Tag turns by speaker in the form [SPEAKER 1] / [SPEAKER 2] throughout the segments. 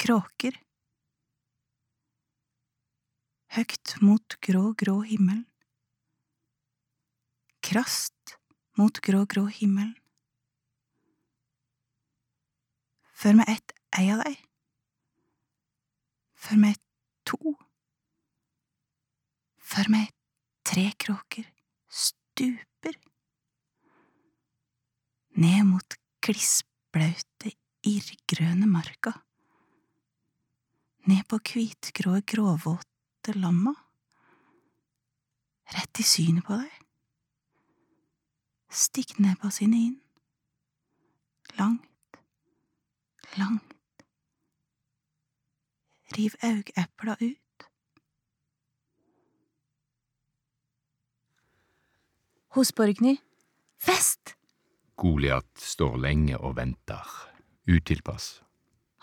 [SPEAKER 1] kråker. Høgt mot grå, grå himmelen. Krast mot grå, grå himmelen. Før med ett ei av deg. Før med to. Før med tre kråker stuper. Ned mot glissblaute, irrgrønne marka. Ned på hvitgrå, gråvåte lamma. Rett i synet på deg. Stikk nebba sine inn. Langt langt. Riv augepla ut. Hos Borgny. Fest!
[SPEAKER 2] Goliat står lenge og venter, utilpass.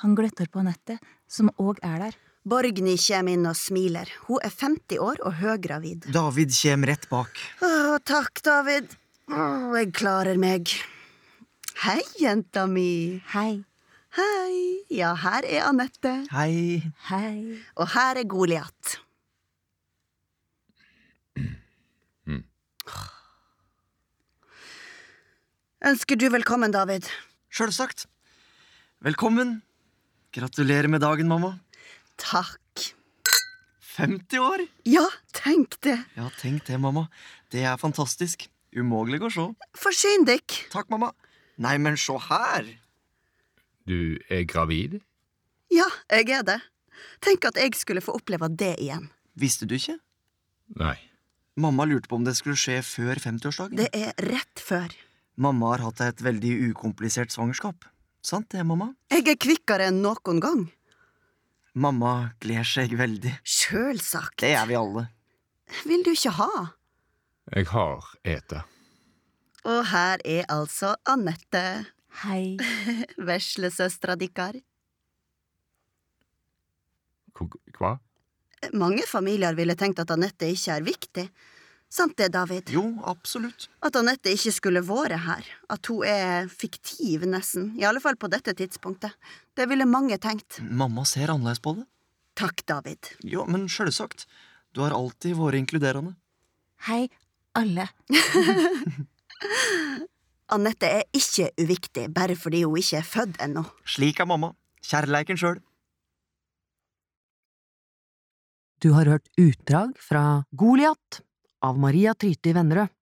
[SPEAKER 1] Han gløtter på nettet, som òg er der.
[SPEAKER 3] Borgny kommer inn og smiler. Hun er 50 år og høygravid.
[SPEAKER 4] David kommer rett bak.
[SPEAKER 3] Å, takk, David. Åh, jeg klarer meg. Hei, jenta mi.
[SPEAKER 1] Hei,
[SPEAKER 3] Hei. Ja, her er Anette.
[SPEAKER 4] Hei.
[SPEAKER 1] hei.
[SPEAKER 3] Og her er Goliat.
[SPEAKER 2] Mm.
[SPEAKER 3] Ønsker du velkommen, David?
[SPEAKER 4] Sjølsagt. Velkommen. Gratulerer med dagen, mamma.
[SPEAKER 3] Takk.
[SPEAKER 4] 50 år!
[SPEAKER 3] Ja, tenk det.
[SPEAKER 4] Ja, tenk det, mamma. Det er fantastisk. Umulig å se.
[SPEAKER 3] Forsyn dere.
[SPEAKER 4] Takk, mamma. Nei, men se her!
[SPEAKER 2] Du er gravid?
[SPEAKER 3] Ja, jeg er det. Tenk at jeg skulle få oppleve det igjen.
[SPEAKER 4] Visste du ikke?
[SPEAKER 2] Nei.
[SPEAKER 4] Mamma lurte på om det skulle skje før 50-årsdagen.
[SPEAKER 3] Det er rett før.
[SPEAKER 4] Mamma har hatt et veldig ukomplisert svangerskap. Sant det, mamma?
[SPEAKER 3] Jeg er kvikkere enn noen gang.
[SPEAKER 4] Mamma gleder seg veldig.
[SPEAKER 3] Sjølsagt.
[SPEAKER 4] Det er vi alle.
[SPEAKER 3] Vil du ikke ha?
[SPEAKER 2] Jeg har eta.
[SPEAKER 3] Og her er altså Anette,
[SPEAKER 1] Hei.
[SPEAKER 3] veslesøstera dikkar.
[SPEAKER 2] Hva?
[SPEAKER 3] Mange familier ville tenkt at Anette ikke er viktig. Sant det, David?
[SPEAKER 4] Jo, absolutt.
[SPEAKER 3] At Anette ikke skulle vært her. At hun er fiktiv, nesten. I alle fall på dette tidspunktet. Det ville mange tenkt.
[SPEAKER 4] Mamma ser annerledes på det.
[SPEAKER 3] Takk, David.
[SPEAKER 4] Jo, men sjølsagt. Du har alltid vært inkluderende.
[SPEAKER 1] Hei, alle.
[SPEAKER 3] Anette er ikke uviktig bare fordi hun ikke er født ennå.
[SPEAKER 4] Slik er mamma. Kjærleiken sjøl.
[SPEAKER 5] Du har hørt utdrag fra Goliat av Maria Tryti Vennerød.